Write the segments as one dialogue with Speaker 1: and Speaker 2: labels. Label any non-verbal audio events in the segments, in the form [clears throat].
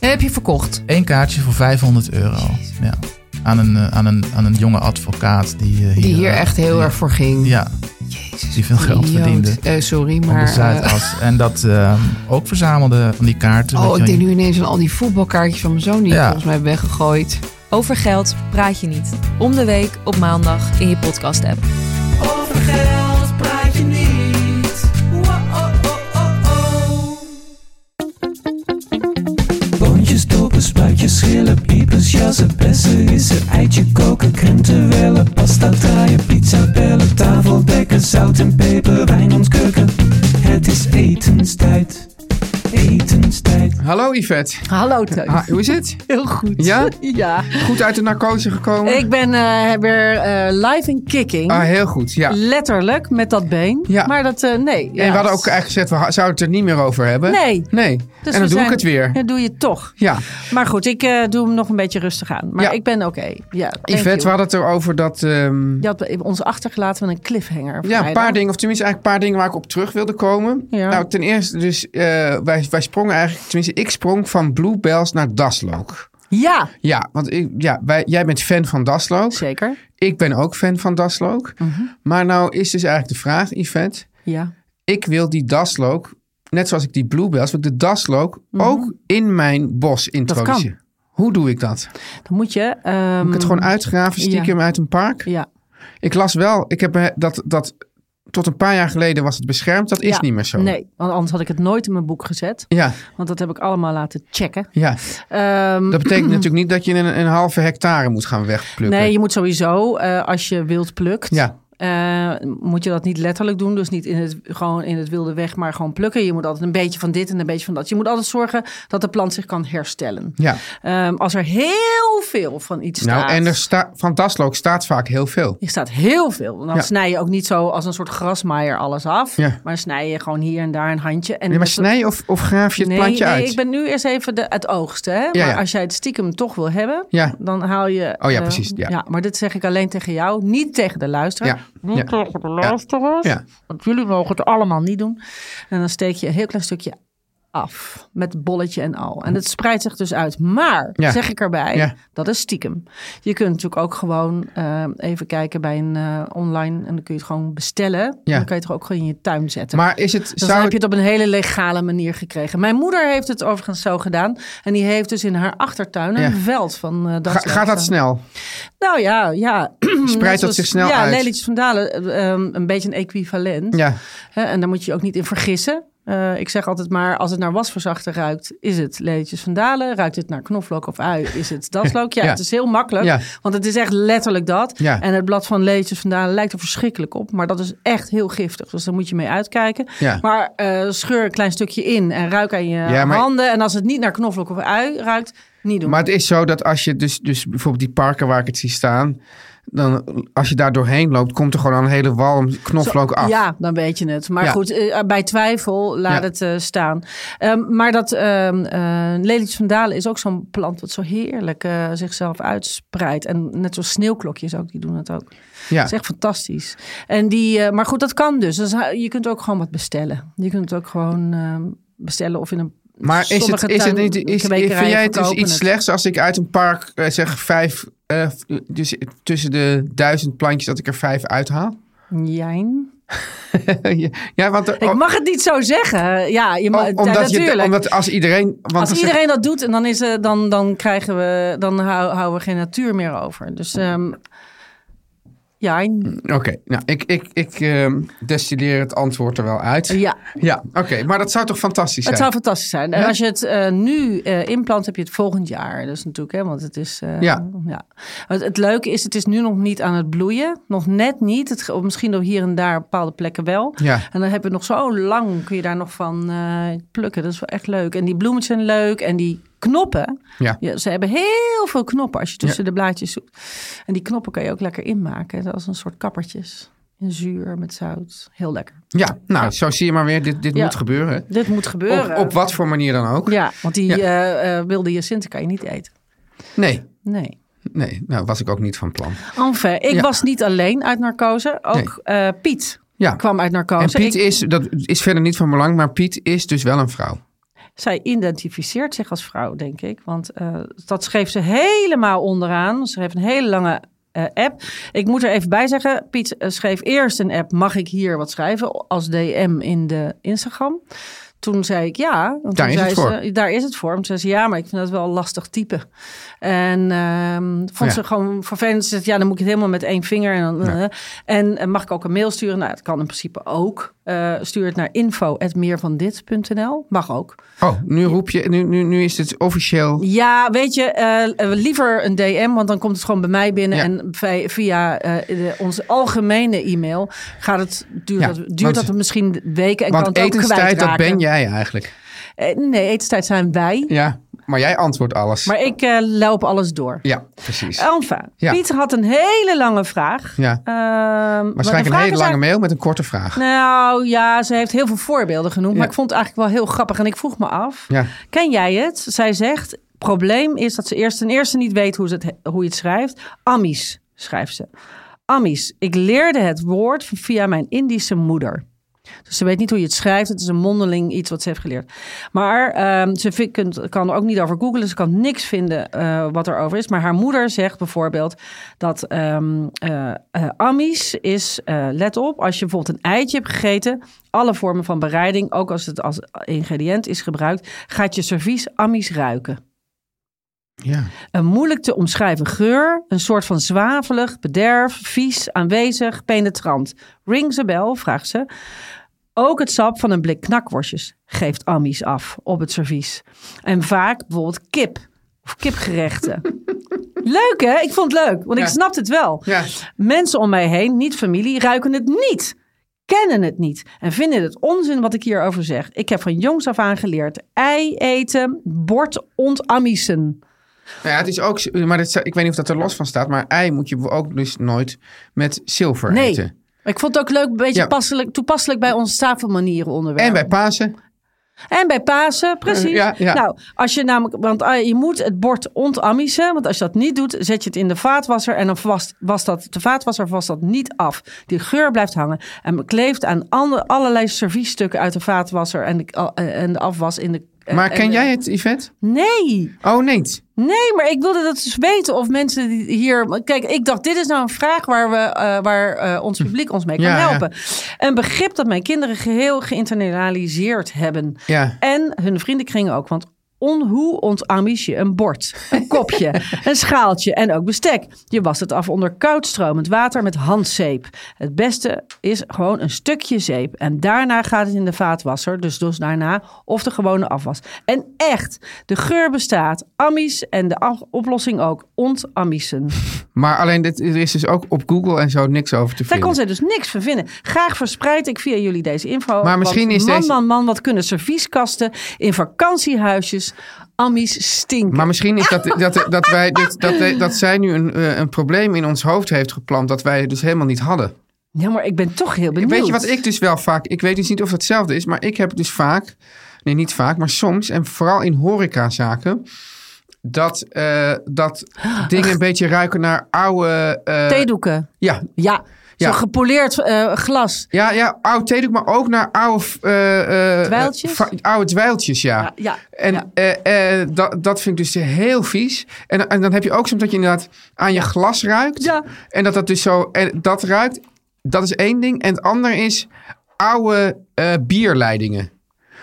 Speaker 1: Heb je verkocht?
Speaker 2: Eén kaartje voor 500 euro. Ja. Aan, een, eh, aan, een, aan een jonge advocaat die eh, hier...
Speaker 3: Die hier
Speaker 2: eh,
Speaker 3: echt heel
Speaker 2: ja,
Speaker 3: erg voor ging.
Speaker 2: Ja, die veel geld
Speaker 3: Idioot.
Speaker 2: verdiende.
Speaker 3: Eh, sorry,
Speaker 2: Aan
Speaker 3: maar...
Speaker 2: de Zuidas. En dat eh, ook verzamelde van die kaarten.
Speaker 3: eh,
Speaker 2: met
Speaker 3: oh, ik
Speaker 2: hun-
Speaker 3: denk nu ineens aan al die voetbalkaartjes van mijn zoon die ik
Speaker 2: Ja.
Speaker 3: volgens mij heb weggegooid.
Speaker 1: Over geld praat je niet. Om de week op maandag in je podcast-app.
Speaker 4: Boontjes, dopen, spuitjes, schillen, piepers, jassen, bessen, rissen, eitje koken, krenten wellen, pasta draaien, pizza bellen, tafel dekken, zout en peper, wijn ontkurken. Het is etenstijd, etenstijd.
Speaker 5: Hallo Yvette.
Speaker 6: Hallo Teun.
Speaker 5: Ah, hoe is het?
Speaker 6: Heel goed.
Speaker 5: Ja?
Speaker 6: [laughs] Ja.
Speaker 5: Goed uit de narcose gekomen?
Speaker 6: Ik ben eh, weer eh, live in kicking.
Speaker 5: Ah, heel goed, ja.
Speaker 6: Letterlijk, met dat been.
Speaker 5: Ja.
Speaker 6: Maar dat, eh, nee.
Speaker 5: En we hadden ook eigenlijk gezegd, we ha- zouden het er niet meer over hebben.
Speaker 6: Nee.
Speaker 5: Nee.
Speaker 6: Dus
Speaker 5: en
Speaker 6: we
Speaker 5: dan doe
Speaker 6: zijn-
Speaker 5: ik het weer.
Speaker 6: Dat doe je toch.
Speaker 5: Ja.
Speaker 6: Maar goed, ik eh, doe hem nog een beetje rustig aan. Maar
Speaker 5: Ja.
Speaker 6: ik ben oké. Ja, thank
Speaker 5: Yvette, we
Speaker 6: you.
Speaker 5: hadden het erover dat... ehm,
Speaker 6: Je had ons achtergelaten met een cliffhanger.
Speaker 5: ja, een
Speaker 6: vrijdag.
Speaker 5: paar dingen, of tenminste eigenlijk een paar dingen waar ik op terug wilde komen.
Speaker 6: Ja.
Speaker 5: Nou, ten eerste dus, eh, wij, wij sprongen eigenlijk, tenminste ik sprong van Bluebells naar Daslook.
Speaker 6: Ja,
Speaker 5: Ja, want ik, ja, wij, jij bent fan van Daslook.
Speaker 6: zeker. Mhm.
Speaker 5: Ik ben ook fan van Daslook. Maar nou is dus eigenlijk de vraag, Yvette.
Speaker 6: Ja.
Speaker 5: ik wil die daslook, net zoals ik die bluebells, wil ik de daslook
Speaker 6: Mhm.
Speaker 5: ook in mijn bos introduceren. Hoe doe ik dat? Moet
Speaker 6: Dan moet je... ehm,
Speaker 5: ik het gewoon uitgraven,
Speaker 6: ja.
Speaker 5: stiekem uit een park?
Speaker 6: Ja.
Speaker 5: Ik las wel, ik heb eh, dat, dat tot een paar jaar geleden was het beschermd. Dat is
Speaker 6: Ja.
Speaker 5: niet meer zo.
Speaker 6: Nee, want anders had ik het nooit in mijn boek gezet.
Speaker 5: Ja,
Speaker 6: Want dat heb ik allemaal laten checken.
Speaker 5: ja.
Speaker 6: Ehm, [clears throat]
Speaker 5: Dat betekent natuurlijk niet dat je een, een halve hectare moet gaan wegplukken.
Speaker 6: nee, je moet sowieso, eh, als je wild plukt...
Speaker 5: Ja,
Speaker 6: Eh, moet je dat niet letterlijk doen. Dus niet in het, gewoon in het wilde weg, maar gewoon plukken. Je moet altijd een beetje van dit en een beetje van dat. Je moet altijd zorgen dat de plant zich kan herstellen.
Speaker 5: ja.
Speaker 6: Ehm, als er heel veel van iets staat.
Speaker 5: Nou, en er sta, van daslook staat vaak heel veel.
Speaker 6: er staat heel veel. Dan
Speaker 5: Ja.
Speaker 6: snij je ook niet zo als een soort grasmaaier alles af.
Speaker 5: Ja.
Speaker 6: Maar dan snij je gewoon hier en daar een handje. En
Speaker 5: Nee, maar
Speaker 6: dat-
Speaker 5: snij je of, of graaf je het
Speaker 6: nee,
Speaker 5: plantje
Speaker 6: nee,
Speaker 5: uit?
Speaker 6: ik ben nu eerst even de, het oogsten. Hè? maar
Speaker 5: ja.
Speaker 6: als jij het stiekem toch wil hebben,
Speaker 5: Ja.
Speaker 6: dan haal je...
Speaker 5: Oh ja,
Speaker 6: eh,
Speaker 5: precies, ja.
Speaker 6: maar dit zeg ik alleen tegen jou, niet tegen de luisteraar.
Speaker 5: Ja,
Speaker 6: Niet
Speaker 5: ja.
Speaker 6: tegen de luisteraars.
Speaker 5: Ja.
Speaker 6: Want jullie mogen het allemaal niet doen. En dan steek je een heel klein stukje af. Met bolletje en al. En het spreidt zich dus uit. Maar,
Speaker 5: Ja.
Speaker 6: zeg ik erbij,
Speaker 5: Ja.
Speaker 6: dat is stiekem. Je kunt natuurlijk ook gewoon eh, even kijken bij een eh, online. En dan kun je het gewoon bestellen. Dan kan je het toch ook gewoon in je tuin zetten.
Speaker 5: maar is het,
Speaker 6: Dus
Speaker 5: zou
Speaker 6: dan
Speaker 5: het-
Speaker 6: heb je het op een hele legale manier gekregen. Mijn moeder heeft het overigens zo gedaan. En die heeft dus in haar achtertuin een
Speaker 5: Ja.
Speaker 6: veld van eh
Speaker 5: ga-
Speaker 6: daslook
Speaker 5: gaat dat
Speaker 6: staan.
Speaker 5: snel? [laughs]
Speaker 6: Nou ja, ja.
Speaker 5: Spreidt dat
Speaker 6: Zoals-
Speaker 5: zich snel
Speaker 6: ja,
Speaker 5: uit?
Speaker 6: Lelietjes van Dalen, eh, ehm, een beetje een equivalent.
Speaker 5: Ja,
Speaker 6: Hè, en daar moet je je ook niet in vergissen. Eh, ik zeg altijd maar, als het naar wasverzachter ruikt, is het lelietjes van Dalen. Ruikt het naar knoflook of ui, is het
Speaker 5: [laughs]
Speaker 6: daslook. Ja,
Speaker 5: Ja.
Speaker 6: het is heel makkelijk,
Speaker 5: Ja.
Speaker 6: want het is echt letterlijk dat.
Speaker 5: Ja.
Speaker 6: En het blad van lelietjes van Dalen lijkt er verschrikkelijk op. Maar dat is echt heel giftig, dus daar moet je mee uitkijken.
Speaker 5: Ja.
Speaker 6: Maar eh, scheur een klein stukje in en ruik aan je
Speaker 5: Ja, maar-
Speaker 6: handen. En als het niet naar knoflook of ui ruikt, niet doen.
Speaker 5: Maar het is zo dat als je dus, dus bijvoorbeeld die parken waar ik het zie staan, dan als je daar doorheen loopt, komt er gewoon al een hele walm knoflook af.
Speaker 6: Ja, dan weet je het. Maar
Speaker 5: Ja.
Speaker 6: goed, eh, bij twijfel laat
Speaker 5: Ja.
Speaker 6: het eh, staan. Ehm, maar dat ehm eh, Lelietje van Dalen is ook zo'n plant wat zo heerlijk eh, zichzelf uitspreidt. En net zoals sneeuwklokjes ook, die doen dat ook.
Speaker 5: Ja.
Speaker 6: Dat is echt fantastisch. En die, eh, maar goed, dat kan dus. dus. eh, Je kunt ook gewoon wat bestellen. Je kunt het ook gewoon ehm, bestellen of in een
Speaker 5: maar is het,
Speaker 6: sommige
Speaker 5: is het
Speaker 6: tuin-
Speaker 5: niet, is, vind
Speaker 6: kwekerijen
Speaker 5: jij het dus
Speaker 6: verkopen
Speaker 5: iets slechts als ik uit een park eh, zeg vijf, eh, dus tussen de duizend plantjes dat ik er vijf uithaal? [laughs]
Speaker 6: Jijn.
Speaker 5: ja, want er-
Speaker 6: Ik mag het niet zo zeggen. Ja, je mag,
Speaker 5: om-
Speaker 6: ja,
Speaker 5: Oh. omdat, je,
Speaker 6: natuurlijk.
Speaker 5: omdat als iedereen... Want
Speaker 6: Als
Speaker 5: er zit-
Speaker 6: iedereen dat doet, en dan, is, eh, dan, dan, krijgen we, dan hou- houden we geen natuur meer over. Dus ehm, ja,
Speaker 5: Oké, nou, ik, ik, ik ehm, destilleer het antwoord er wel uit.
Speaker 6: Ja.
Speaker 5: Ja, oké. maar dat zou toch fantastisch
Speaker 6: het
Speaker 5: zijn?
Speaker 6: zou fantastisch zijn. En
Speaker 5: Ja.
Speaker 6: als je het eh, nu eh, inplant, heb je het volgend jaar. Dus natuurlijk, hè, want het is. eh,
Speaker 5: Ja.
Speaker 6: Het, het leuke is, het is nu nog niet aan het bloeien. Nog net niet. Het, ge- misschien nog hier en daar op bepaalde plekken wel.
Speaker 5: Ja.
Speaker 6: En dan heb je nog zo lang, kun je daar nog van eh, plukken. Dat is wel echt leuk. En die bloemetjes zijn leuk. En die knoppen.
Speaker 5: Ja.
Speaker 6: Ja, ze hebben heel veel knoppen als je tussen de blaadjes zoekt. En die knoppen kan je ook lekker inmaken. Dat is een soort kappertjes. En zuur met zout. Heel lekker.
Speaker 5: Ja, nou, zo zie je maar weer. Dit, dit
Speaker 6: Ja.
Speaker 5: moet gebeuren.
Speaker 6: Dit moet gebeuren.
Speaker 5: Op, op wat voor manier dan ook.
Speaker 6: Ja, want die eh, eh, wilde Jacinthe kan je niet eten.
Speaker 5: Nee,
Speaker 6: Nee.
Speaker 5: nee, nou was ik ook niet van plan.
Speaker 6: Enfin, ik
Speaker 5: Ja.
Speaker 6: was niet alleen uit narcose. Ook eh, Piet
Speaker 5: Ja.
Speaker 6: kwam uit narcose.
Speaker 5: En Piet
Speaker 6: Oh, Ik-
Speaker 5: is, dat is verder niet van belang, maar Piet is dus wel een vrouw.
Speaker 6: Zij identificeert zich als vrouw, denk ik. Want eh, dat schreef ze helemaal onderaan. Ze schreef een hele lange eh, app. Ik moet er even bij zeggen, Piet eh, schreef eerst een app. Mag ik hier wat schrijven? Als DM in de Instagram. Toen zei ik ja. En
Speaker 5: Daar
Speaker 6: toen
Speaker 5: is
Speaker 6: zei
Speaker 5: het voor.
Speaker 6: Ze, daar is het voor. En toen zei ze ja, maar ik vind dat wel lastig typen. En ehm, vond
Speaker 5: Ja.
Speaker 6: ze gewoon vervelend. Ze zei ja, dan moet ik het helemaal met één vinger. En, dan, eh. en eh, mag ik ook een mail sturen? Nou, dat kan in principe ook. Eh, stuur het naar info.meervandit.nl. Mag ook.
Speaker 5: Oh, nu roep je, nu, nu, nu is het officieel.
Speaker 6: Ja, weet je, eh, eh, liever een DM, want dan komt het gewoon bij mij binnen.
Speaker 5: Ja.
Speaker 6: En vi- via eh, de- onze algemene e-mail gaat het, duurt,
Speaker 5: Ja,
Speaker 6: dat, duurt
Speaker 5: want-
Speaker 6: dat misschien weken en kan
Speaker 5: Want
Speaker 6: het ook
Speaker 5: etenstijd, dat
Speaker 6: kwijtraken.
Speaker 5: ben jij eigenlijk.
Speaker 6: Eh, nee, etenstijd zijn wij,
Speaker 5: Ja, maar jij antwoordt alles.
Speaker 6: maar ik eh, loop alles door.
Speaker 5: Ja, precies.
Speaker 6: Enfin,
Speaker 5: Ja.
Speaker 6: Piet had een hele lange vraag.
Speaker 5: Ja.
Speaker 6: Ehm, maar de
Speaker 5: Waarschijnlijk een
Speaker 6: vraag
Speaker 5: hele
Speaker 6: is
Speaker 5: lange
Speaker 6: eigenlijk-
Speaker 5: mail met een korte vraag.
Speaker 6: Nou ja, ze heeft heel veel voorbeelden genoemd, maar ik vond het eigenlijk wel heel grappig. En ik vroeg me af,
Speaker 5: Ja.
Speaker 6: Ken jij het? Zij zegt, probleem is dat ze eerst ten eerste niet weet hoe, ze het, hoe je het schrijft. Amis, schrijft ze. Amis, ik leerde het woord via mijn Indische moeder. Dus ze weet niet hoe je het schrijft. Het is een mondeling iets wat ze heeft geleerd. Maar ehm, ze vi- kunt- kan er ook niet over googlen. Ze kan niks vinden eh, wat er over is. Maar haar moeder zegt bijvoorbeeld dat ehm, eh, eh, Amis is, eh, let op, als je bijvoorbeeld een eitje hebt gegeten, alle vormen van bereiding, ook als het als ingrediënt is gebruikt, gaat je servies Amis ruiken.
Speaker 5: Ja.
Speaker 6: Een moeilijk te omschrijven geur, een soort van zwavelig, bederf, vies, aanwezig, penetrant. Rings a bell, vraagt ze. Ook het sap van een blik knakworstjes geeft ammies af op het servies. En vaak bijvoorbeeld kip of kipgerechten. leuk hè? Ik vond het leuk, want ik
Speaker 5: Ja.
Speaker 6: snapte het wel.
Speaker 5: Ja.
Speaker 6: Mensen om mij heen, niet familie, ruiken het niet. Kennen het niet en vinden het onzin wat ik hierover zeg. Ik heb van jongs af aan geleerd: ei eten, bord ontamissen.
Speaker 5: Nou ja, het is ook, maar dit, ik weet niet of dat er los van staat, maar ei moet je ook dus nooit met zilver
Speaker 6: Nee.
Speaker 5: eten.
Speaker 6: Ik vond het ook leuk, een beetje
Speaker 5: Ja.
Speaker 6: passelijk, toepasselijk bij onze tafelmanieren onderwerp.
Speaker 5: En bij Pasen.
Speaker 6: En bij Pasen, precies.
Speaker 5: Ja, ja.
Speaker 6: Nou, als je namelijk, want ah, je moet het bord ontamissen. Want als je dat niet doet, zet je het in de vaatwasser. En dan was, was dat, de vaatwasser was dat niet af. Die geur blijft hangen. En kleeft aan ander, allerlei serviesstukken uit de vaatwasser en de, ah, eh, en de afwas in de. eh,
Speaker 5: Maar
Speaker 6: en
Speaker 5: ken
Speaker 6: de-
Speaker 5: jij het, Yvette?
Speaker 6: Nee.
Speaker 5: Oh, nee.
Speaker 6: Nee, maar ik wilde dat dus weten of mensen die hier. Kijk, ik dacht, dit is nou een vraag waar, we, eh, waar eh, ons publiek ons mee kan
Speaker 5: Hm. Ja, ja.
Speaker 6: helpen. Een begrip dat mijn kinderen geheel geïnternaliseerd hebben.
Speaker 5: Ja.
Speaker 6: En hun vriendenkringen ook. Want on, hoe ontamisch je een bord, een kopje, een schaaltje en ook bestek? Je wast het af onder koud stromend water met handzeep. Het beste is gewoon een stukje zeep. En daarna gaat het in de vaatwasser. Dus, dus daarna of de gewone afwas. En echt, de geur bestaat. Amies en de af- oplossing ook. Ontamiessen.
Speaker 5: Maar alleen, dit, er is dus ook op Google en zo niks over te
Speaker 6: Daar
Speaker 5: vinden.
Speaker 6: kon zij dus niks van vinden. Graag verspreid ik via jullie deze info.
Speaker 5: Maar misschien
Speaker 6: Want
Speaker 5: is
Speaker 6: man,
Speaker 5: deze-
Speaker 6: man, man, wat kunnen servieskasten in vakantiehuisjes ammies stinken.
Speaker 5: Maar misschien is dat, dat, dat, wij dit, dat, dat zij nu een, eh, een probleem in ons hoofd heeft geplant dat wij dus helemaal niet hadden.
Speaker 6: Ja, maar ik ben toch heel benieuwd.
Speaker 5: Weet je wat ik dus wel vaak... Ik weet dus niet of het hetzelfde is, maar ik heb dus vaak... Nee, niet vaak, maar soms en vooral in horecazaken... Dat, eh,
Speaker 6: [gasps]
Speaker 5: dat dingen een beetje ruiken naar oude... eh,
Speaker 6: Theedoeken.
Speaker 5: ja,
Speaker 6: Ja,
Speaker 5: Ja.
Speaker 6: zo'n gepoleerd eh, glas.
Speaker 5: ja, ja, oud theedoek, maar ook naar oude... eh, eh,
Speaker 6: Dweiltjes?
Speaker 5: va- oude dweiltjes,
Speaker 6: Ja, ja,
Speaker 5: En
Speaker 6: ja.
Speaker 5: eh, eh, dat, dat vind ik dus heel vies. En, en dan heb je ook soms dat je inderdaad aan je glas ruikt.
Speaker 6: Ja.
Speaker 5: En dat dat dus zo en dat ruikt. dat is één ding. En het andere is oude eh, bierleidingen.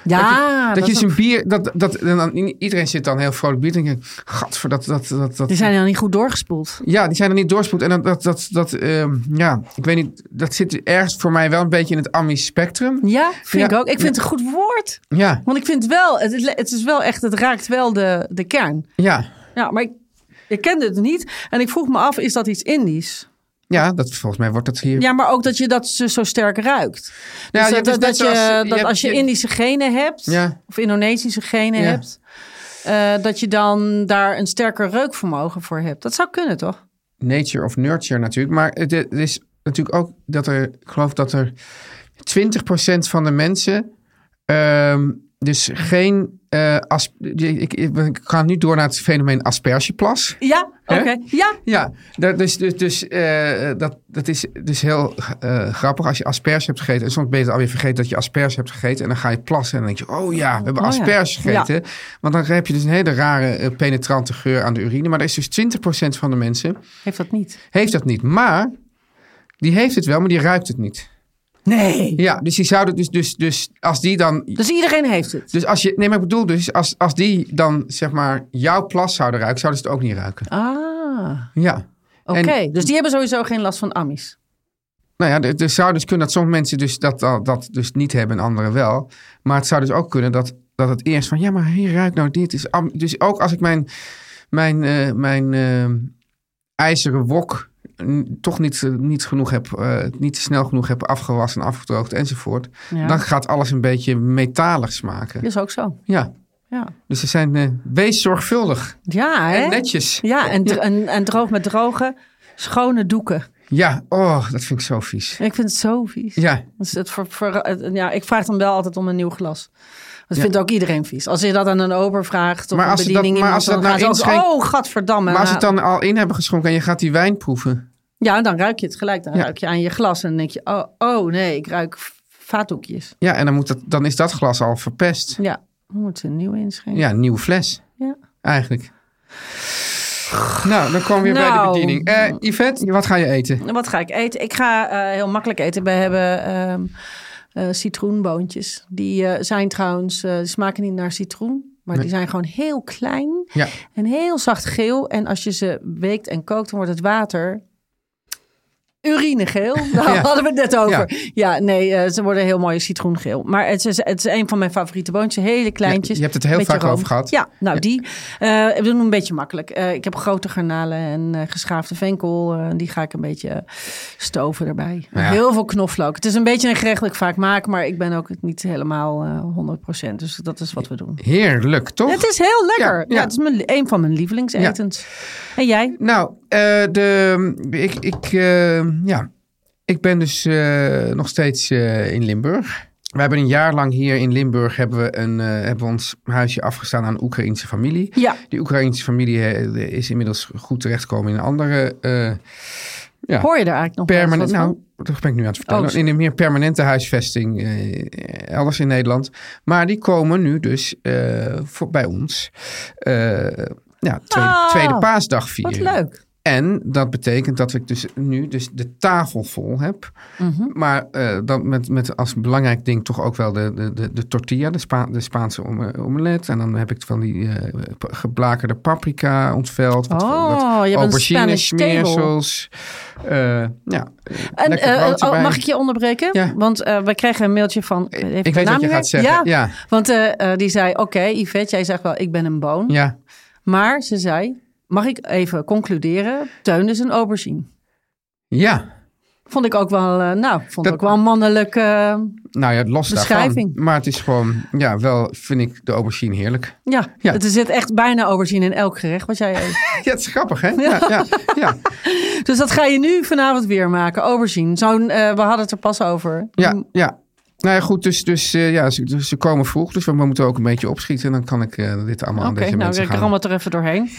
Speaker 6: Ja,
Speaker 5: dat, je
Speaker 6: is
Speaker 5: eens een bier. Dat, dat, en dan, iedereen zit dan heel vrolijk bier. Dan denk je, gadver, dat. dat, dat, dat
Speaker 6: Die zijn dan niet goed doorgespoeld.
Speaker 5: ja, die zijn er niet doorspoed. En dat, dat, dat, dat ehm, ja, ik weet niet, dat zit ergens voor mij wel een beetje in het Amish spectrum.
Speaker 6: Ja, vind
Speaker 5: Ja.
Speaker 6: ik ook. Ik vind het een goed woord.
Speaker 5: Ja,
Speaker 6: Want ik vind wel, het, is- het is wel echt, het raakt wel de, de kern.
Speaker 5: ja,
Speaker 6: Ja, maar ik, ik kende het niet. En ik vroeg me af, is dat iets Indisch?
Speaker 5: ja, dat, volgens mij wordt dat hier.
Speaker 6: Ja, maar ook dat je dat zo zo sterk ruikt.
Speaker 5: Ja,
Speaker 6: Dus
Speaker 5: je
Speaker 6: dat,
Speaker 5: hebt dus
Speaker 6: dat,
Speaker 5: net
Speaker 6: dat je,
Speaker 5: zoals- je
Speaker 6: dat
Speaker 5: hebt-
Speaker 6: als je
Speaker 5: je-
Speaker 6: Indische genen hebt,
Speaker 5: Ja.
Speaker 6: of Indonesische genen
Speaker 5: Ja.
Speaker 6: hebt, eh, dat je dan daar een sterker reukvermogen voor hebt. Dat zou kunnen, toch?
Speaker 5: nature of nurture natuurlijk. Maar het, het is natuurlijk ook dat er, ik geloof dat er 20% van de mensen, ehm, dus geen, eh, as, ik, ik, ik ga nu door naar het fenomeen aspergeplas.
Speaker 6: Ja, oké.
Speaker 5: Hè?
Speaker 6: Ja,
Speaker 5: Ja, dat, dus, dus, dus, eh, dat, dat is dus heel eh, grappig als je asperge hebt gegeten. En soms ben je het alweer vergeten dat je asperge hebt gegeten. En dan ga je plassen en dan denk je, oh ja, we hebben
Speaker 6: Oh ja.
Speaker 5: asperge gegeten. Want dan heb je dus een hele rare eh, penetrante geur aan de urine. Maar er is dus 20% van de mensen
Speaker 6: heeft dat niet.
Speaker 5: heeft dat niet. Maar die heeft het wel, maar die ruikt het niet.
Speaker 6: Nee.
Speaker 5: Ja, dus die zouden dus, dus, dus als die dan.
Speaker 6: Dus iedereen heeft het.
Speaker 5: Dus als je, nee, maar ik bedoel dus, als, als die dan zeg maar jouw plas zouden ruiken, zouden ze het ook niet ruiken.
Speaker 6: Ah,
Speaker 5: Ja.
Speaker 6: oké.
Speaker 5: En-
Speaker 6: Dus die hebben sowieso geen last van amis.
Speaker 5: Nou ja, het het zou dus kunnen dat sommige mensen dus dat, dat, dat dus niet hebben en anderen wel. Maar het zou dus ook kunnen dat, dat het eerst van, ja, maar hier ruikt nou dit. Is am- dus ook als ik mijn, mijn, eh, mijn eh, ijzeren wok n- toch niet, eh, niet, genoeg heb, eh, niet snel genoeg heb afgewassen, afgedroogd enzovoort.
Speaker 6: Ja.
Speaker 5: Dan gaat alles een beetje metalig smaken.
Speaker 6: Dat is ook zo.
Speaker 5: Ja,
Speaker 6: Ja,
Speaker 5: dus ze zijn, eh, wees zorgvuldig
Speaker 6: ja hè?
Speaker 5: en netjes.
Speaker 6: Ja, en, dr- en, en droog met droge, schone doeken.
Speaker 5: Ja, oh, dat vind ik zo vies.
Speaker 6: Ik vind het zo vies.
Speaker 5: Ja,
Speaker 6: Dus het ver- ver- het- ja, ik vraag dan wel altijd om een nieuw glas. Dat vindt ook iedereen vies. Als je dat aan een ober vraagt of
Speaker 5: Maar
Speaker 6: een
Speaker 5: als ze dat-
Speaker 6: bediening iemand,
Speaker 5: maar als ze dat
Speaker 6: dan
Speaker 5: nou
Speaker 6: gaan ze ook,
Speaker 5: inschenken-
Speaker 6: oh, gadverdamme.
Speaker 5: maar als ze het dan al in hebben geschonken en je gaat die wijn proeven.
Speaker 6: Ja, dan ruik je het gelijk. Dan
Speaker 5: Ja.
Speaker 6: ruik je aan je glas en dan denk je, oh, oh nee, ik ruik v- vaatdoekjes.
Speaker 5: Ja, en dan, moet dat, dan is dat glas al verpest.
Speaker 6: Ja, we moeten een nieuwe inschenken.
Speaker 5: Ja, een nieuwe fles
Speaker 6: Ja.
Speaker 5: eigenlijk. Nou, dan kwam je bij de
Speaker 6: Nou.
Speaker 5: bediening. Eh, Yvette, wat ga je eten?
Speaker 6: En [clears throat] Wat ga ik eten? Ik ga eh, heel makkelijk eten. We hebben ehm, eh, citroenboontjes. Die eh, zijn trouwens, eh, die smaken niet naar citroen. Maar die zijn gewoon heel klein
Speaker 5: Ja,
Speaker 6: en heel zacht geel. En als je ze weekt en kookt, dan wordt het water
Speaker 5: [laughs]
Speaker 6: urinegeel. Daar
Speaker 5: Ja.
Speaker 6: hadden we het net over. Ja, nee, eh, ze worden heel mooi citroengeel. Maar het is, het is een van mijn favoriete boontjes. Hele kleintjes.
Speaker 5: Ja, je hebt het heel
Speaker 6: beetje
Speaker 5: vaak
Speaker 6: room.
Speaker 5: over gehad.
Speaker 6: Ja, nou die. eh, we doen hem een beetje makkelijk. Eh, ik heb grote garnalen en eh, geschaafde venkel. eh, die ga ik een beetje stoven erbij.
Speaker 5: Ja.
Speaker 6: Heel veel knoflook. Het is een beetje een gerecht dat ik vaak maak. Maar ik ben ook niet helemaal eh 100%. Dus dat is wat we doen.
Speaker 5: heerlijk, toch?
Speaker 6: Het is heel lekker.
Speaker 5: Ja,
Speaker 6: Ja,
Speaker 5: ja.
Speaker 6: het is mijn, een van mijn lievelingsetens. En jij?
Speaker 5: Nou, eh, de, ik, ik, eh, ja. ik ben dus eh, nog steeds eh, in Limburg. We hebben een jaar lang hier in Limburg hebben we een, eh, hebben we ons huisje afgestaan aan een Oekraïnse familie.
Speaker 6: Ja.
Speaker 5: Die Oekraïnse familie eh, is inmiddels goed terechtgekomen in een andere eh, Ja.
Speaker 6: Hoor je daar eigenlijk nog wel eens
Speaker 5: permanent.
Speaker 6: wat van?
Speaker 5: Nou, dat ben ik nu aan het vertellen.
Speaker 6: Oh, zo.
Speaker 5: in een meer permanente huisvesting, eh, elders in Nederland. Maar die komen nu dus eh, voor, bij ons. eh, ja, tweede,
Speaker 6: Ah,
Speaker 5: tweede paasdag vieren.
Speaker 6: Wat leuk.
Speaker 5: En dat betekent dat ik dus nu dus de tafel vol heb.
Speaker 6: Mhm.
Speaker 5: Maar eh, dan met, met als belangrijk ding toch ook wel de, de, de, de tortilla, de, Spa- de Spaanse om- omelet. En dan heb ik van die eh, pa- geblakerde paprika ontveld. Wat,
Speaker 6: Oh,
Speaker 5: wat
Speaker 6: je hebt een
Speaker 5: aubergine,
Speaker 6: Spanish table.
Speaker 5: smeersels. Eh, ja,
Speaker 6: En
Speaker 5: lekker
Speaker 6: eh,
Speaker 5: brood
Speaker 6: oh,
Speaker 5: erbij.
Speaker 6: mag ik je onderbreken?
Speaker 5: Ja.
Speaker 6: Want eh wij kregen een mailtje van. eh, Ik, weet
Speaker 5: Ik weet wat je gaat zeggen. Ja, ja.
Speaker 6: Want eh, eh, die zei: Oké, Yvette, jij zegt wel, ik ben een boon. Maar ze zei: Mag ik even concluderen? Teun is een aubergine.
Speaker 5: ja.
Speaker 6: Vond ik ook wel, eh, nou, vond
Speaker 5: Dat-
Speaker 6: ik ook wel mannelijk. eh,
Speaker 5: Nou ja, los daarvan.
Speaker 6: Beschrijving.
Speaker 5: Maar het is gewoon, ja, wel vind ik de aubergine heerlijk. [laughs]
Speaker 6: ja,
Speaker 5: Ja.
Speaker 6: het zit echt bijna aubergine in elk gerecht wat jij
Speaker 5: [laughs]
Speaker 6: eet.
Speaker 5: Ja, het is grappig, hè? Ja, ja, ja.
Speaker 6: dus dat ga je nu vanavond weer maken, aubergine. Zo'n, eh, we hadden het er pas over. Mm.
Speaker 5: Ja, ja. Nou ja, goed, dus, dus eh, ja, ze, dus ze komen vroeg, dus we moeten ook een beetje opschieten. En dan kan ik eh, dit allemaal
Speaker 6: Oké,
Speaker 5: aan deze
Speaker 6: nou,
Speaker 5: mensen
Speaker 6: ik
Speaker 5: gaan.
Speaker 6: ram het er even doorheen.
Speaker 5: [laughs]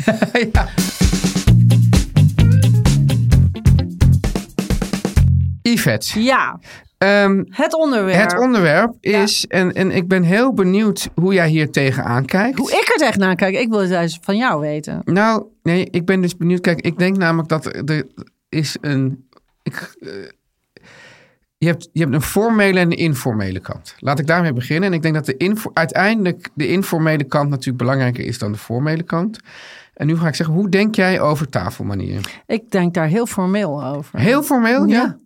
Speaker 5: Yvette,
Speaker 6: Ja,
Speaker 5: ehm,
Speaker 6: het onderwerp.
Speaker 5: het onderwerp is, en, en ik ben heel benieuwd hoe jij hier tegenaan kijkt.
Speaker 6: Hoe ik er tegenaan kijk, ik wil het juist van jou weten.
Speaker 5: Nou, nee, ik ben dus benieuwd. Kijk, ik denk namelijk dat er er is een... Ik, eh, Je hebt, je hebt een formele en een informele kant. Laat ik daarmee beginnen. En ik denk dat de info, uiteindelijk de informele kant natuurlijk belangrijker is dan de formele kant. En nu ga ik zeggen, hoe denk jij over tafelmanieren?
Speaker 6: Ik denk daar heel formeel over.
Speaker 5: Heel formeel, ja?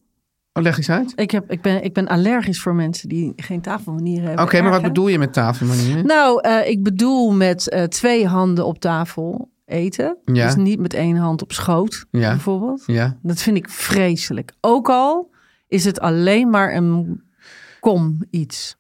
Speaker 5: Oh, leg eens uit.
Speaker 6: Ik, heb, ik, ben, ik ben allergisch voor mensen die geen tafelmanieren
Speaker 5: Oké,
Speaker 6: hebben.
Speaker 5: maar
Speaker 6: Erg,
Speaker 5: wat
Speaker 6: hè?
Speaker 5: bedoel je met tafelmanieren?
Speaker 6: Nou, eh, ik bedoel met eh, twee handen op tafel eten.
Speaker 5: Ja.
Speaker 6: Dus niet met één hand op schoot,
Speaker 5: Ja.
Speaker 6: bijvoorbeeld.
Speaker 5: Ja.
Speaker 6: Dat vind ik vreselijk. Ook al is het alleen maar een kom iets.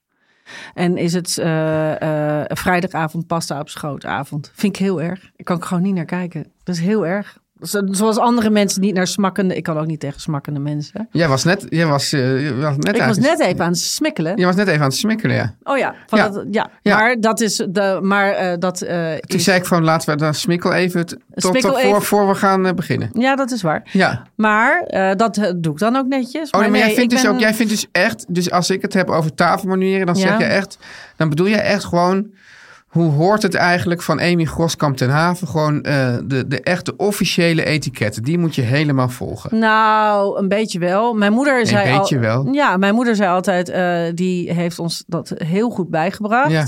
Speaker 6: En is het eh, eh, vrijdagavond pasta op schootavond. Vind ik heel erg. Ik kan er gewoon niet naar kijken. Dat is heel erg. Zo- Zoals andere mensen niet naar smakkende... Ik kan ook niet tegen smakkende mensen.
Speaker 5: Jij was net, jij was, eh, je was net,
Speaker 6: ik was
Speaker 5: aan-
Speaker 6: net even aan het smikkelen.
Speaker 5: Je was net even aan het smikkelen, ja.
Speaker 6: Oh ja, van
Speaker 5: Ja.
Speaker 6: Dat, ja. maar dat is de, maar eh, dat eh,
Speaker 5: Toen
Speaker 6: is-
Speaker 5: zei ik van laten we dan smikkel even t- tot,
Speaker 6: Smikkel
Speaker 5: tot voor,
Speaker 6: even.
Speaker 5: voor we gaan eh, beginnen.
Speaker 6: ja, dat is waar.
Speaker 5: Ja.
Speaker 6: Maar eh, dat eh, doe ik dan ook netjes.
Speaker 5: Oh, nee, maar jij
Speaker 6: nee,
Speaker 5: vindt,
Speaker 6: ik
Speaker 5: dus
Speaker 6: ben-
Speaker 5: ook, jij vindt dus echt, dus als ik het heb over tafelmanieren, dan zeg
Speaker 6: Ja.
Speaker 5: je echt, dan bedoel je echt gewoon, hoe hoort het eigenlijk van Amy Groskamp ten Haven? Gewoon eh, de, de echte officiële etiketten, die moet je helemaal volgen.
Speaker 6: Nou, een beetje wel. Mijn moeder zei
Speaker 5: beetje
Speaker 6: al,
Speaker 5: wel.
Speaker 6: Ja, mijn moeder zei altijd, eh, die heeft ons dat heel goed bijgebracht.
Speaker 5: Ja.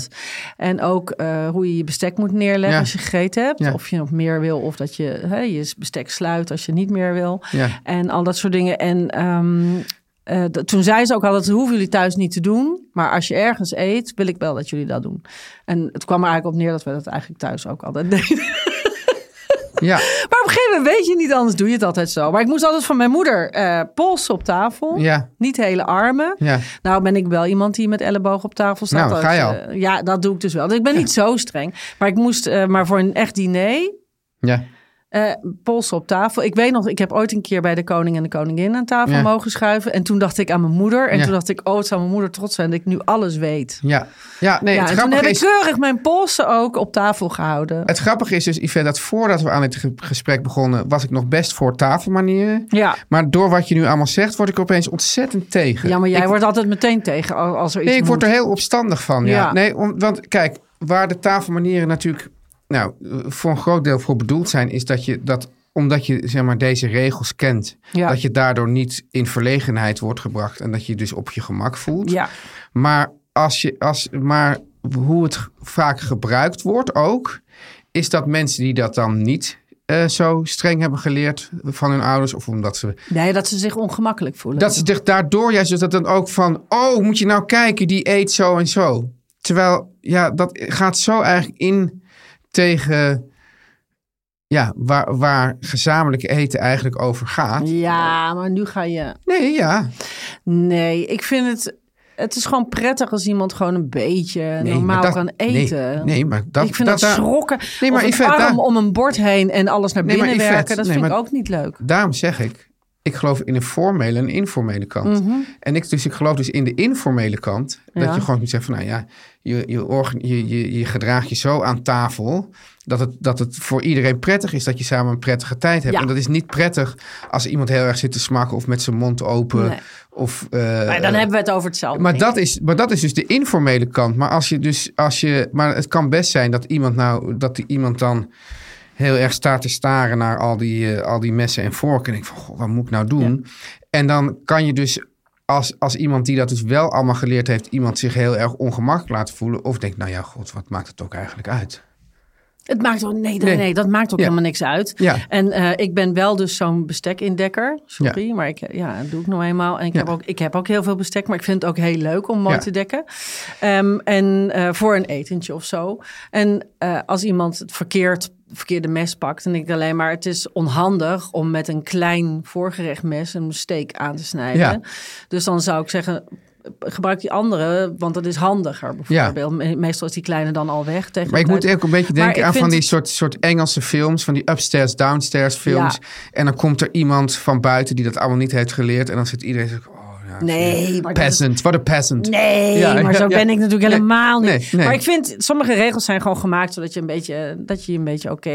Speaker 6: En ook eh, hoe je je bestek moet neerleggen
Speaker 5: Ja.
Speaker 6: als je gegeten hebt.
Speaker 5: Ja.
Speaker 6: Of je nog meer wil, of dat je hè, je bestek sluit als je niet meer wil.
Speaker 5: Ja.
Speaker 6: En al dat soort dingen. En ehm, eh, dat- toen zei ze ook al, dat hoeven jullie thuis niet te doen. Maar als je ergens eet, wil ik wel dat jullie dat doen. En het kwam er eigenlijk op neer dat we dat eigenlijk thuis ook altijd [laughs] deden.
Speaker 5: Ja,
Speaker 6: Maar op een gegeven moment weet je niet, anders doe je het altijd zo. Maar ik moest altijd van mijn moeder eh polsen op tafel.
Speaker 5: ja,
Speaker 6: Niet hele armen.
Speaker 5: ja.
Speaker 6: Nou ben ik wel iemand die met elleboog op tafel staat.
Speaker 5: Nou,
Speaker 6: Dat,
Speaker 5: ga je al.
Speaker 6: eh, ja, dat doe ik dus wel. Dus ik ben niet zo streng. Maar ik moest, eh, maar voor een echt diner,
Speaker 5: ja.
Speaker 6: eh, polsen op tafel. Ik weet nog, ik heb ooit een keer bij de koning en de koningin aan tafel
Speaker 5: Ja.
Speaker 6: mogen schuiven. En toen dacht ik aan mijn moeder. En
Speaker 5: Ja.
Speaker 6: toen dacht ik, oh, het zou mijn moeder trots zijn dat ik nu alles weet.
Speaker 5: Ja, ja nee,
Speaker 6: ja,
Speaker 5: het
Speaker 6: en toen
Speaker 5: grappige
Speaker 6: heb
Speaker 5: is...
Speaker 6: ik keurig mijn polsen ook op tafel gehouden.
Speaker 5: Het grappige is dus, Yvette, dat voordat we aan dit ge- gesprek begonnen, was ik nog best voor tafelmanieren.
Speaker 6: Ja.
Speaker 5: Maar door wat je nu allemaal zegt, word ik er opeens ontzettend tegen.
Speaker 6: Ja, maar jij
Speaker 5: ik,
Speaker 6: wordt altijd meteen tegen al- als er iets
Speaker 5: Nee, ik word
Speaker 6: moet.
Speaker 5: er heel opstandig van. Ja.
Speaker 6: Ja.
Speaker 5: Nee, om- want kijk, waar de tafelmanieren natuurlijk nou, eh, voor een groot deel voor bedoeld zijn, is dat je dat omdat je zeg maar, deze regels kent,
Speaker 6: Ja.
Speaker 5: dat je daardoor niet in verlegenheid wordt gebracht en dat je je dus op je gemak voelt.
Speaker 6: Ja.
Speaker 5: Maar, als je, als, maar hoe het g- vaak gebruikt wordt ook, is dat mensen die dat dan niet eh, zo streng hebben geleerd van hun ouders, of omdat ze
Speaker 6: Nee, dat ze zich ongemakkelijk voelen.
Speaker 5: dat ze zich daardoor juist dus dat dan ook van, oh, moet je nou kijken, die eet zo en zo. Terwijl, ja, dat gaat zo eigenlijk in tegen, ja, waar, waar gezamenlijk eten eigenlijk over gaat.
Speaker 6: Ja, maar nu ga je...
Speaker 5: Nee, ja.
Speaker 6: Nee, ik vind het... Het is gewoon prettig als iemand gewoon een beetje
Speaker 5: Nee,
Speaker 6: normaal
Speaker 5: maar dat-
Speaker 6: kan
Speaker 5: nee,
Speaker 6: eten.
Speaker 5: Nee, maar dat...
Speaker 6: ik vind dat,
Speaker 5: daar-
Speaker 6: schrokken.
Speaker 5: Nee,
Speaker 6: Nee,
Speaker 5: maar
Speaker 6: maar of het
Speaker 5: Yvette,
Speaker 6: arm
Speaker 5: daar-
Speaker 6: om een bord heen en alles naar
Speaker 5: Nee, maar
Speaker 6: binnen
Speaker 5: Yvette,
Speaker 6: werken. Dat
Speaker 5: nee,
Speaker 6: vind
Speaker 5: maar-
Speaker 6: ik ook niet leuk.
Speaker 5: Daarom zeg ik, ik geloof in een formele en informele kant. En ik, dus ik geloof dus in de informele kant. Dat
Speaker 6: Mhm. Ja.
Speaker 5: je gewoon moet zeggen van, nou ja, je, je, orga- je, je, je gedraagt je zo aan tafel... Dat het, dat het voor iedereen prettig is dat je samen een prettige tijd hebt.
Speaker 6: Ja.
Speaker 5: En dat is niet prettig als iemand heel erg zit te smakken of met zijn mond open.
Speaker 6: Nee.
Speaker 5: Of, eh,
Speaker 6: maar dan hebben we het over hetzelfde.
Speaker 5: maar
Speaker 6: denk ik.
Speaker 5: dat, is, maar dat is dus de informele kant. Maar, als je dus, als je, maar het kan best zijn dat iemand, nou, dat die iemand dan heel erg staat te staren naar al die, eh, al die messen en vorken. En ik van, goh, wat moet ik nou doen? En dan kan je dus, als, als iemand die dat dus wel allemaal geleerd heeft, iemand zich heel erg ongemakkelijk laten voelen. Of denkt, nou ja, god, wat maakt het ook eigenlijk uit?
Speaker 6: Het maakt ook, nee,
Speaker 5: Nee.
Speaker 6: nee. nee, dat maakt ook
Speaker 5: Ja.
Speaker 6: helemaal niks uit. [laughs]
Speaker 5: Ja.
Speaker 6: En eh, ik ben wel dus zo'n bestekindekker. Sorry, maar ik, ja, dat doe ik nou eenmaal. En ik,
Speaker 5: Ja.
Speaker 6: heb ook, ik heb ook heel veel bestek, maar ik vind het ook heel leuk om mooi
Speaker 5: Ja.
Speaker 6: te dekken. Ehm, en eh, voor een etentje of zo. En eh, als iemand het verkeerd verkeerde mes pakt, dan denk ik alleen maar... het is onhandig om met een klein voorgerechtmes een steek aan te snijden.
Speaker 5: Ja.
Speaker 6: Dus dan zou ik zeggen, gebruik die andere, want dat is handiger bijvoorbeeld. Me- Meestal is die kleine dan al weg tegen
Speaker 5: Maar ik
Speaker 6: de
Speaker 5: moet
Speaker 6: tijd.
Speaker 5: ook een beetje
Speaker 6: Maar
Speaker 5: denken
Speaker 6: ik
Speaker 5: aan van
Speaker 6: vind
Speaker 5: die
Speaker 6: het-
Speaker 5: soort, soort Engelse films, van die upstairs, downstairs films.
Speaker 6: Ja.
Speaker 5: En dan komt er iemand van buiten die dat allemaal niet heeft geleerd. En dan zit iedereen zo, oh ja.
Speaker 6: Nee, maar dat is-
Speaker 5: Peasant, wat een peasant.
Speaker 6: Nee,
Speaker 5: Ja,
Speaker 6: maar
Speaker 5: ja,
Speaker 6: zo
Speaker 5: ja.
Speaker 6: ben ik natuurlijk
Speaker 5: Nee,
Speaker 6: helemaal niet.
Speaker 5: nee, nee.
Speaker 6: Maar ik vind, sommige regels zijn gewoon gemaakt zodat je een beetje, eh, dat je je een beetje oké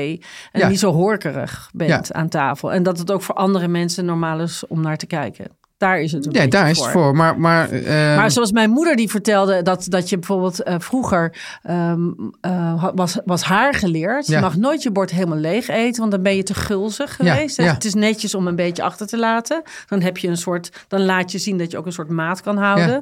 Speaker 6: en
Speaker 5: Ja.
Speaker 6: niet zo horkerig bent
Speaker 5: Ja.
Speaker 6: aan tafel. En dat het ook voor andere mensen normaal is om naar te kijken. Daar is het een
Speaker 5: Ja,
Speaker 6: beetje
Speaker 5: daar is het voor. Maar, maar, eh,
Speaker 6: maar zoals mijn moeder die vertelde dat, dat je bijvoorbeeld eh, vroeger ehm, eh, had- was, was haar geleerd.
Speaker 5: Ja.
Speaker 6: Je mag nooit je bord helemaal leeg eten, want dan ben je te gulzig
Speaker 5: Ja,
Speaker 6: geweest. hè.
Speaker 5: ja.
Speaker 6: Het is netjes om een beetje achter te laten. Dan heb je een soort, dan laat je zien dat je ook een soort maat kan houden.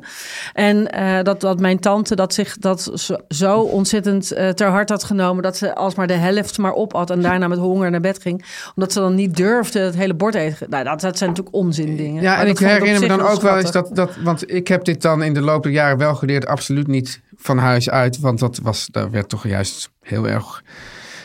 Speaker 6: En eh, dat, dat mijn tante dat zich dat zo, zo ontzettend eh, ter hart had genomen dat ze alsmaar de helft maar op had en daarna met honger naar bed ging, omdat ze dan niet durfde het hele bord eten. Nou, dat, dat zijn natuurlijk onzin dingen.
Speaker 5: Ja,
Speaker 6: Maar
Speaker 5: en
Speaker 6: dat vond
Speaker 5: ik
Speaker 6: op
Speaker 5: herinner me
Speaker 6: zich
Speaker 5: dan ook wel eens
Speaker 6: schattig.
Speaker 5: dat, dat. Want ik heb dit dan in de loop der jaren wel geleerd. Absoluut niet van huis uit. Want dat was, daar werd toch juist heel erg.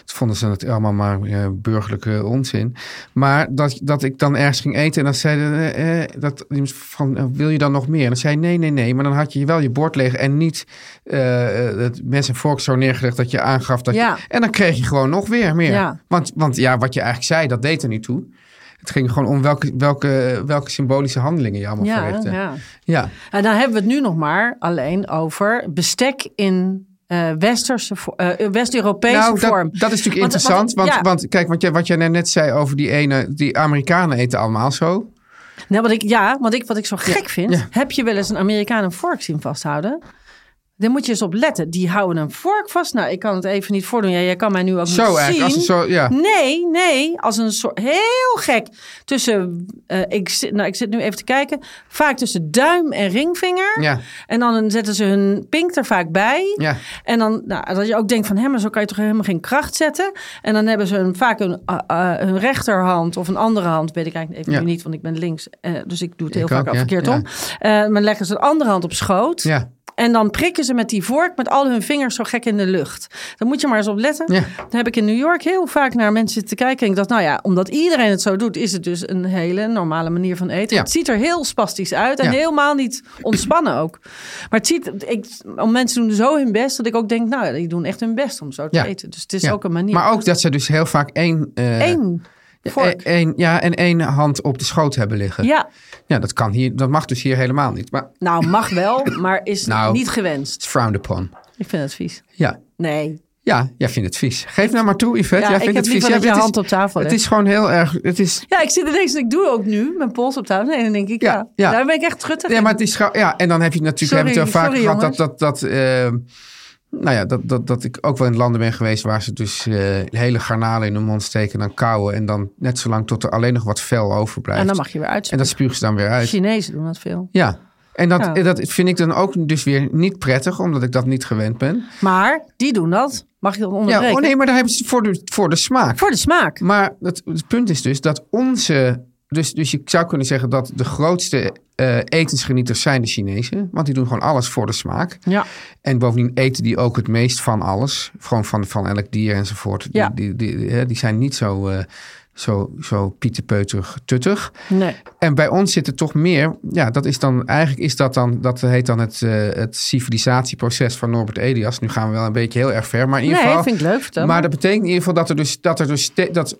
Speaker 5: Het vonden ze het allemaal maar eh, burgerlijke onzin. Maar dat, dat ik dan ergens ging eten en dan zeiden eh, eh, dat, van, eh, wil je dan nog meer? En dan zei je, nee, nee, nee. Maar dan had je wel je bord leeg en niet eh, eh, het mes en vork zo neergelegd dat je aangaf. Dat je-
Speaker 6: Ja.
Speaker 5: en dan kreeg je gewoon nog weer meer.
Speaker 6: Ja.
Speaker 5: Want, want ja, wat je eigenlijk zei, dat deed er niet toe. Het ging gewoon om welke, welke, welke symbolische handelingen je allemaal
Speaker 6: Ja,
Speaker 5: verrichtte.
Speaker 6: ja.
Speaker 5: Ja.
Speaker 6: En Nou, dan hebben we het nu nog maar alleen over bestek in eh, westerse, vo- eh, West-Europese
Speaker 5: Nou, dat,
Speaker 6: vorm.
Speaker 5: dat is natuurlijk
Speaker 6: Want-
Speaker 5: interessant. Want,
Speaker 6: ja.
Speaker 5: want kijk, wat jij, wat jij net zei over die ene... Die Amerikanen eten allemaal zo.
Speaker 6: Nee, Nou, wat ik, ja, want ik, wat ik zo gek vind, heb je wel eens een Amerikaan een vork zien vasthouden? Daar moet je eens op letten. Die houden een vork vast. Nou, ik kan het even niet voordoen. Ja, jij kan mij nu ook
Speaker 5: Zo
Speaker 6: niet
Speaker 5: eigenlijk,
Speaker 6: zien.
Speaker 5: als een zo- ja.
Speaker 6: Nee, nee. Als een soort... Heel gek. Tussen... eh, ik, zit, nou, ik zit nu even te kijken. Vaak tussen duim en ringvinger.
Speaker 5: Ja.
Speaker 6: En dan zetten ze hun pink er vaak bij.
Speaker 5: Ja.
Speaker 6: En dan, nou, dat je ook denkt van, hè, maar zo kan je toch helemaal geen kracht zetten. En dan hebben ze hun, vaak hun, eh, eh, hun rechterhand of een andere hand, weet ik eigenlijk even
Speaker 5: Ja.
Speaker 6: nu niet, want ik ben links. eh, dus ik doe het
Speaker 5: Ik
Speaker 6: heel vaak
Speaker 5: ook,
Speaker 6: al
Speaker 5: ja,
Speaker 6: verkeerd
Speaker 5: ja.
Speaker 6: om. Eh, maar leggen ze de andere hand op schoot.
Speaker 5: Ja.
Speaker 6: En dan prikken ze met die vork met al hun vingers zo gek in de lucht. Dan moet je maar eens op letten.
Speaker 5: Ja.
Speaker 6: Dan heb ik in New York heel vaak naar mensen te kijken. En ik dacht, nou ja, omdat iedereen het zo doet, is het dus een hele normale manier van eten.
Speaker 5: Ja.
Speaker 6: Het ziet er heel spastisch uit en
Speaker 5: Ja.
Speaker 6: helemaal niet ontspannen ook. Maar het ziet, ik, mensen doen zo hun best dat ik ook denk, nou ja, die doen echt hun best om zo te
Speaker 5: Ja.
Speaker 6: eten. Dus het is
Speaker 5: Ja.
Speaker 6: ook een manier.
Speaker 5: Maar ook dat ze dus heel vaak één... eh,
Speaker 6: Eén vork.
Speaker 5: e- één- ja, en één hand op de schoot hebben liggen.
Speaker 6: Ja,
Speaker 5: Ja, dat, kan hier, dat mag dus hier helemaal niet. Maar het
Speaker 6: nou mag wel, maar is
Speaker 5: [laughs] Nou.
Speaker 6: niet gewenst.
Speaker 5: is frowned upon.
Speaker 6: Ik vind het vies.
Speaker 5: Ja.
Speaker 6: Nee,
Speaker 5: Ja, jij vindt het vies. Geef nou maar toe, Yvette.
Speaker 6: Ja,
Speaker 5: jij
Speaker 6: ik
Speaker 5: vindt
Speaker 6: heb
Speaker 5: het
Speaker 6: liever
Speaker 5: vies.
Speaker 6: dat
Speaker 5: Ja,
Speaker 6: je
Speaker 5: dit is-
Speaker 6: hand op tafel
Speaker 5: Het
Speaker 6: legt.
Speaker 5: is gewoon heel erg... Het is,
Speaker 6: Ja, ik zit ineens, ik doe ook nu mijn pols op tafel. En dan denk ik, ja,
Speaker 5: Ja, ja.
Speaker 6: daar ben ik echt truttig.
Speaker 5: Ja, maar het is gauw- ja, en dan heb je natuurlijk
Speaker 6: Sorry,
Speaker 5: hebben we het wel vaak
Speaker 6: sorry,
Speaker 5: gehad dat,
Speaker 6: jongens.
Speaker 5: dat, dat, eh, nou ja, dat, dat, dat ik ook wel in landen ben geweest waar ze dus eh, hele garnalen in hun mond steken en dan kauwen En dan net zolang tot er alleen nog wat vel overblijft.
Speaker 6: en dan mag je weer
Speaker 5: En
Speaker 6: uitspreken.
Speaker 5: dat spugen ze dan weer uit.
Speaker 6: Chinezen doen dat veel.
Speaker 5: Ja. En dat,
Speaker 6: Ja.
Speaker 5: en dat vind ik dan ook dus weer niet prettig, omdat ik dat niet gewend ben.
Speaker 6: Maar die doen dat. Mag ik dat onderbreken?
Speaker 5: Ja, oh nee, maar daar hebben ze het voor de, voor de smaak.
Speaker 6: Voor de smaak.
Speaker 5: Maar het, het punt is dus dat onze. Dus, dus je zou kunnen zeggen dat de grootste eh, etensgenieters zijn de Chinezen. Want die doen gewoon alles voor de smaak.
Speaker 6: Ja.
Speaker 5: En bovendien eten die ook het meest van alles. Gewoon van, van elk dier enzovoort.
Speaker 6: Ja.
Speaker 5: Die, die, die, hè, die zijn niet zo, eh zo, zo pieterpeuterig tuttig.
Speaker 6: Nee.
Speaker 5: En bij ons zit er toch meer. Ja, dat is dan eigenlijk is dat dan. Dat heet dan het, eh, het civilisatieproces van Norbert Elias. Nu gaan we wel een beetje heel erg ver. Maar in ieder
Speaker 6: Nee,
Speaker 5: geval.
Speaker 6: vind ik leuk. Vertel
Speaker 5: Maar
Speaker 6: maar.
Speaker 5: dat betekent in ieder geval dat er dus. Dat er dus ste- dat,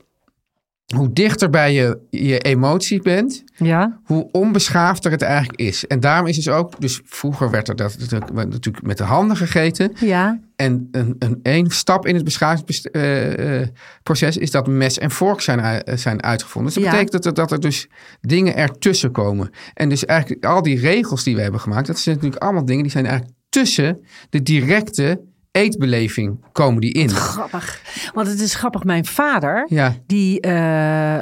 Speaker 5: hoe dichter bij je, je emotie bent,
Speaker 6: Ja.
Speaker 5: hoe onbeschaafder het eigenlijk is. En daarom is dus ook, dus vroeger werd er dat natuurlijk- werd natuurlijk met de handen gegeten.
Speaker 6: Ja.
Speaker 5: En een, een, één stap in het beschavingsproces is dat mes en vork zijn, ui- eh, zijn uitgevonden. Dus dat
Speaker 6: Ja.
Speaker 5: betekent dat er, dat er dus dingen ertussen komen. En dus eigenlijk al die regels die we hebben gemaakt, dat zijn natuurlijk allemaal dingen die zijn eigenlijk tussen de directe eetbeleving komen die in.
Speaker 6: Grappig. Want het is grappig. Mijn vader,
Speaker 5: Ja.
Speaker 6: die, eh,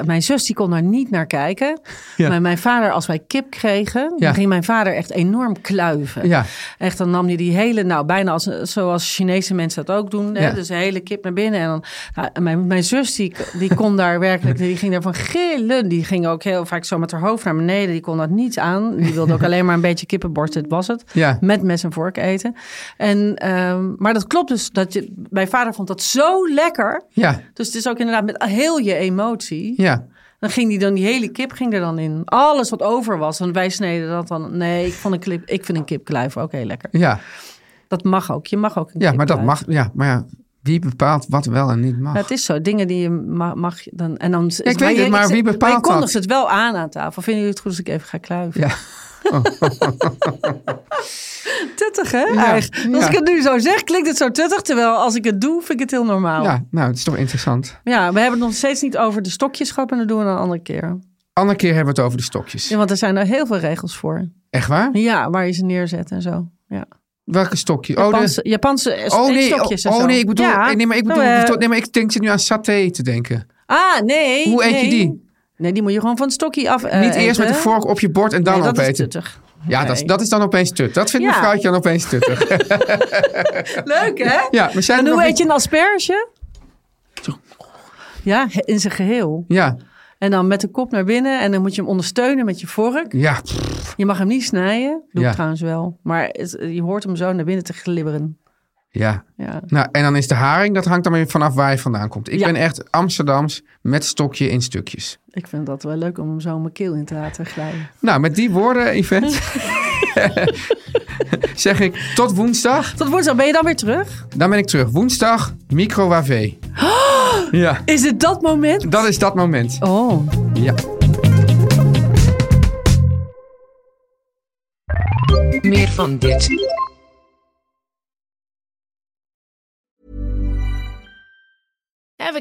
Speaker 6: mijn zus, die kon daar niet naar kijken.
Speaker 5: Ja.
Speaker 6: Maar mijn vader, als wij kip kregen,
Speaker 5: Ja.
Speaker 6: dan ging mijn vader echt enorm kluiven.
Speaker 5: Ja.
Speaker 6: Echt, dan nam hij die hele, nou bijna als, zoals Chinese mensen dat ook doen. Hè?
Speaker 5: Ja.
Speaker 6: Dus de hele kip naar binnen. En dan, nou, en mijn, mijn zus, die, die kon daar werkelijk, die ging daarvan gillen. Die ging ook heel vaak zo met haar hoofd naar beneden. Die kon dat niet aan. Die wilde ook alleen maar een beetje kippenborst, dit was het.
Speaker 5: Ja.
Speaker 6: Met mes en vork eten. En, ehm, maar dat klopt dus. Dat je, mijn vader vond dat zo lekker.
Speaker 5: Ja,
Speaker 6: Dus het is ook inderdaad met heel je emotie.
Speaker 5: ja.
Speaker 6: Dan ging die dan, die hele kip ging er dan in. Alles wat over was. En wij sneden dat dan. Nee, ik, vond een kip, ik vind een kipkluif ook heel lekker.
Speaker 5: Ja,
Speaker 6: Dat mag ook. Je mag ook een
Speaker 5: ja maar dat
Speaker 6: kipkluif.
Speaker 5: mag. Ja, maar ja, wie bepaalt wat wel en niet mag?
Speaker 6: Ja, het is zo. Dingen die je ma- mag. je dan, en dan
Speaker 5: weet het, maar wie bepaalt
Speaker 6: Je kondigt
Speaker 5: dat?
Speaker 6: het wel aan aan tafel. Vinden jullie het goed als ik even ga kluiven?
Speaker 5: Ja.
Speaker 6: [laughs] Tuttig, hè? Eigenlijk. Als
Speaker 5: ja.
Speaker 6: ik het nu zo zeg, klinkt het zo tuttig. Terwijl als ik het doe, vind ik het heel normaal. Ja,
Speaker 5: ja, nou, het is toch interessant.
Speaker 6: we hebben het nog steeds niet over de stokjes schrappen. En dat doen we dan een andere keer.
Speaker 5: Andere keer hebben we het over de stokjes.
Speaker 6: Ja, want er zijn daar heel veel regels voor.
Speaker 5: Echt waar?
Speaker 6: Ja, waar je ze neerzet en zo. Ja.
Speaker 5: Welke stokje? Oh, de-
Speaker 6: Japanse, Japanse eh,
Speaker 5: oh nee,
Speaker 6: stokjes
Speaker 5: oh,
Speaker 6: en
Speaker 5: oh,
Speaker 6: zo.
Speaker 5: nee, ik bedoel,
Speaker 6: Ja.
Speaker 5: nee, maar ik
Speaker 6: Nou,
Speaker 5: bedoel,
Speaker 6: eh,
Speaker 5: nee, maar ik denk zit nu aan saté te denken.
Speaker 6: Ah, nee.
Speaker 5: Hoe eet je
Speaker 6: nee.
Speaker 5: die?
Speaker 6: Nee, die moet je gewoon van het stokje af. eh,
Speaker 5: Niet eerst
Speaker 6: eten.
Speaker 5: met de vork op je bord en dan
Speaker 6: Nee, dat is
Speaker 5: opeten.
Speaker 6: tuttig.
Speaker 5: Ja, dat, is-
Speaker 6: Nee.
Speaker 5: dat is dan opeens tut. Dat vindt
Speaker 6: Ja.
Speaker 5: mevrouwtje dan opeens tuttig.
Speaker 6: [laughs] Leuk, hè?
Speaker 5: ja, we zijn
Speaker 6: En
Speaker 5: er
Speaker 6: hoe
Speaker 5: nog
Speaker 6: eet je een asperge? Ja, he- in zijn geheel.
Speaker 5: niet- Ja,
Speaker 6: En dan met de kop naar binnen. En dan moet je hem ondersteunen met je vork.
Speaker 5: ja. pff,
Speaker 6: Je mag hem niet snijden. Doe
Speaker 5: Ja.
Speaker 6: ik trouwens wel. Maar het- je hoort hem zo naar binnen te glibberen.
Speaker 5: ja.
Speaker 6: Ja.
Speaker 5: Nou, en dan is de haring, dat hangt dan weer vanaf waar je vandaan komt. Ik
Speaker 6: Ja.
Speaker 5: ben echt Amsterdams met stokje in stukjes.
Speaker 6: Ik vind dat wel leuk om hem zo mijn keel in te laten glijden.
Speaker 5: Nou, met die woorden, Yvette, [laughs] zeg ik tot woensdag.
Speaker 6: Tot woensdag. Ben je dan weer terug?
Speaker 5: Dan ben ik terug. Woensdag, micro
Speaker 6: [gasps]
Speaker 5: wavé. Ja,
Speaker 6: Is het dat moment?
Speaker 5: dat is dat moment.
Speaker 6: Oh.
Speaker 5: Ja.
Speaker 3: Meer van dit.
Speaker 7: Ever